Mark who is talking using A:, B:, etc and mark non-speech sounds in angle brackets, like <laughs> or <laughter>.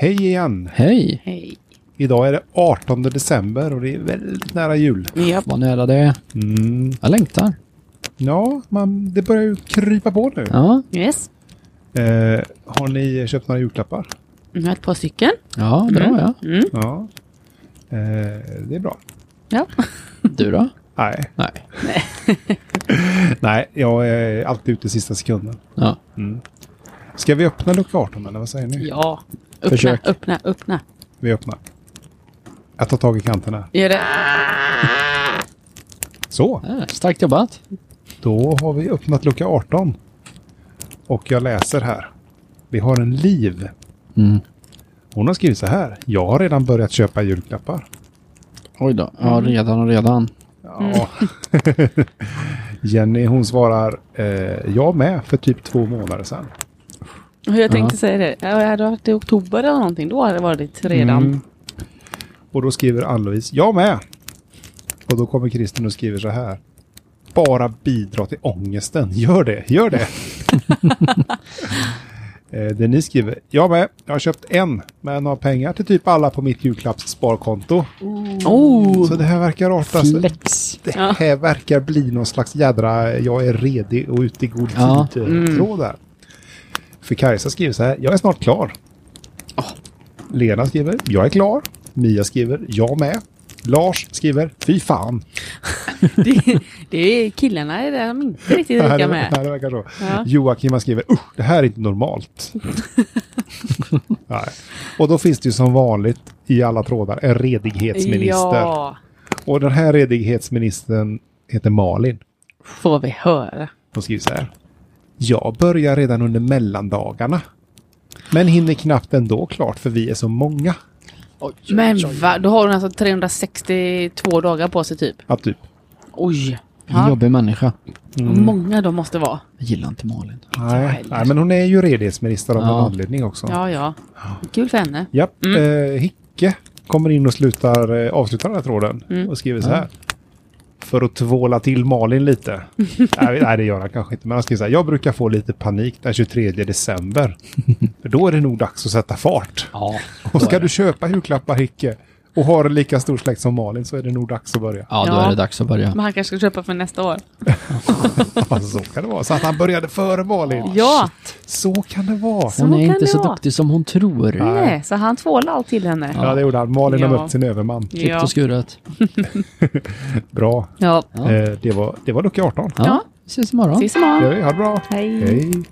A: Hej igen!
B: Hej!
C: Hej.
A: Idag är det 18 december och det är väldigt nära jul.
C: Ja.
B: Vad nära det är.
A: Mm.
B: Jag längtar.
A: Ja, man, det börjar ju krypa på nu.
B: Ja.
C: Yes.
A: Eh, har ni köpt några julklappar?
C: Nu har jag ett par stycken.
B: Ja, det har jag.
C: Mm.
A: Ja. Eh, det är bra.
C: Ja.
B: Du då?
A: Nej,
B: Nej.
A: nej, jag är alltid ute i sista sekunden.
B: Ja.
A: Ska vi öppna lucka 18 eller vad säger ni?
C: <laughs> ja. Öppna,
B: Försök.
C: öppna, öppna.
A: Vi öppnar. Jag tar tag i kanterna.
C: Gör det.
A: Så,
B: Ah, starkt jobbat.
A: då har vi öppnat lucka 18. Och jag läser här. Vi har en liv.
B: Mm.
A: Hon har skrivit så här. Jag har redan börjat köpa julklappar.
B: Oj då. Ja,
C: Mm.
B: redan och redan.
A: Ja. <laughs> Jenny hon svarar. Eh, jag med för typ två månader sedan.
C: Hur jag tänkte säga det. Ja, Jag hade varit i oktober eller någonting. Då hade det varit redan.
A: Mm. Och då skriver Ann-Louise. Jag med. Och då kommer Kristin och skriver så här. Bara bidra till ångesten. Gör det, gör det. Eh, Det ni skriver. Jag med. Jag har köpt en. Men har pengar till typ alla på mitt julklappssparkonto.
C: Oh.
A: Så det här verkar artas.
B: Flex.
A: det här verkar bli någon slags jädra jag är redig och ute i god tid
B: Ja.
A: eh, tråd där. För Kajsa skriver så här, jag är snart klar.
C: Ah.
A: Lena skriver, jag är klar. Mia skriver, jag med. Lars skriver, fy fan.
C: <laughs> Det, det är killarna är där de inte riktigt
A: här,
C: lika
A: är- här
C: med.
A: det verkar så.
C: Ja.
A: Joakim han skriver, usch, det här är inte
C: <laughs>
A: normalt. Nej. Och då finns det ju som vanligt i alla trådar en redighetsminister.
C: Ja.
A: Och den här redighetsministern heter Malin.
C: Får vi höra.
A: Hon skriver så här. Jag börjar redan under mellandagarna. Men hinner knappt ändå klart för vi är så många.
C: Men va? Då har hon alltså 362 dagar på sig typ.
A: Ja, typ.
C: Oj.
B: En
C: Ja.
B: jobbig människa.
C: Vad Många de måste vara.
B: Jag gillar inte Malin.
A: Nej.
C: heller.
A: Nej, men hon är ju redighetsminister av
B: Ja.
A: en anledning också.
C: Ja, ja. Kul för henne.
A: Japp. Eh, Hicke kommer in och slutar, eh, avslutar den här tråden och skriver så här. För att tvåla till Malin lite. nej, nej, det gör han kanske inte. Men han skriver så här. Jag brukar få lite panik den 23 december. för då är det nog dags att sätta fart.
B: Ja.
A: Och ska du köpa julklappar Hicke och har en lika stor släkt som Malin så är det nog dags att
C: <laughs>
A: börja.
B: Ja, då
C: Ja.
B: är det dags att börja.
C: Men han kanske ska köpa för nästa år.
A: Alltså, så kan det vara. Så att han började före Malin.
C: Ja.
A: Så kan det vara.
C: Så
B: Hon är
C: kan
B: inte
C: det
B: så
C: vara.
B: duktig som hon tror.
C: Nej, så han tvålar allt till henne.
A: Ja, det gjorde han. Malin har
C: Ja.
A: mött sin överman.
B: Klippt och skuret.
A: Bra.
C: Ja.
B: Ja.
A: Eh, det, var, det var lucka 18.
B: Ja.
C: Ja.
B: Ses imorgon.
C: Ses
A: Gör
C: imorgon.
A: det. Ha det bra.
C: Hej.
A: Hej.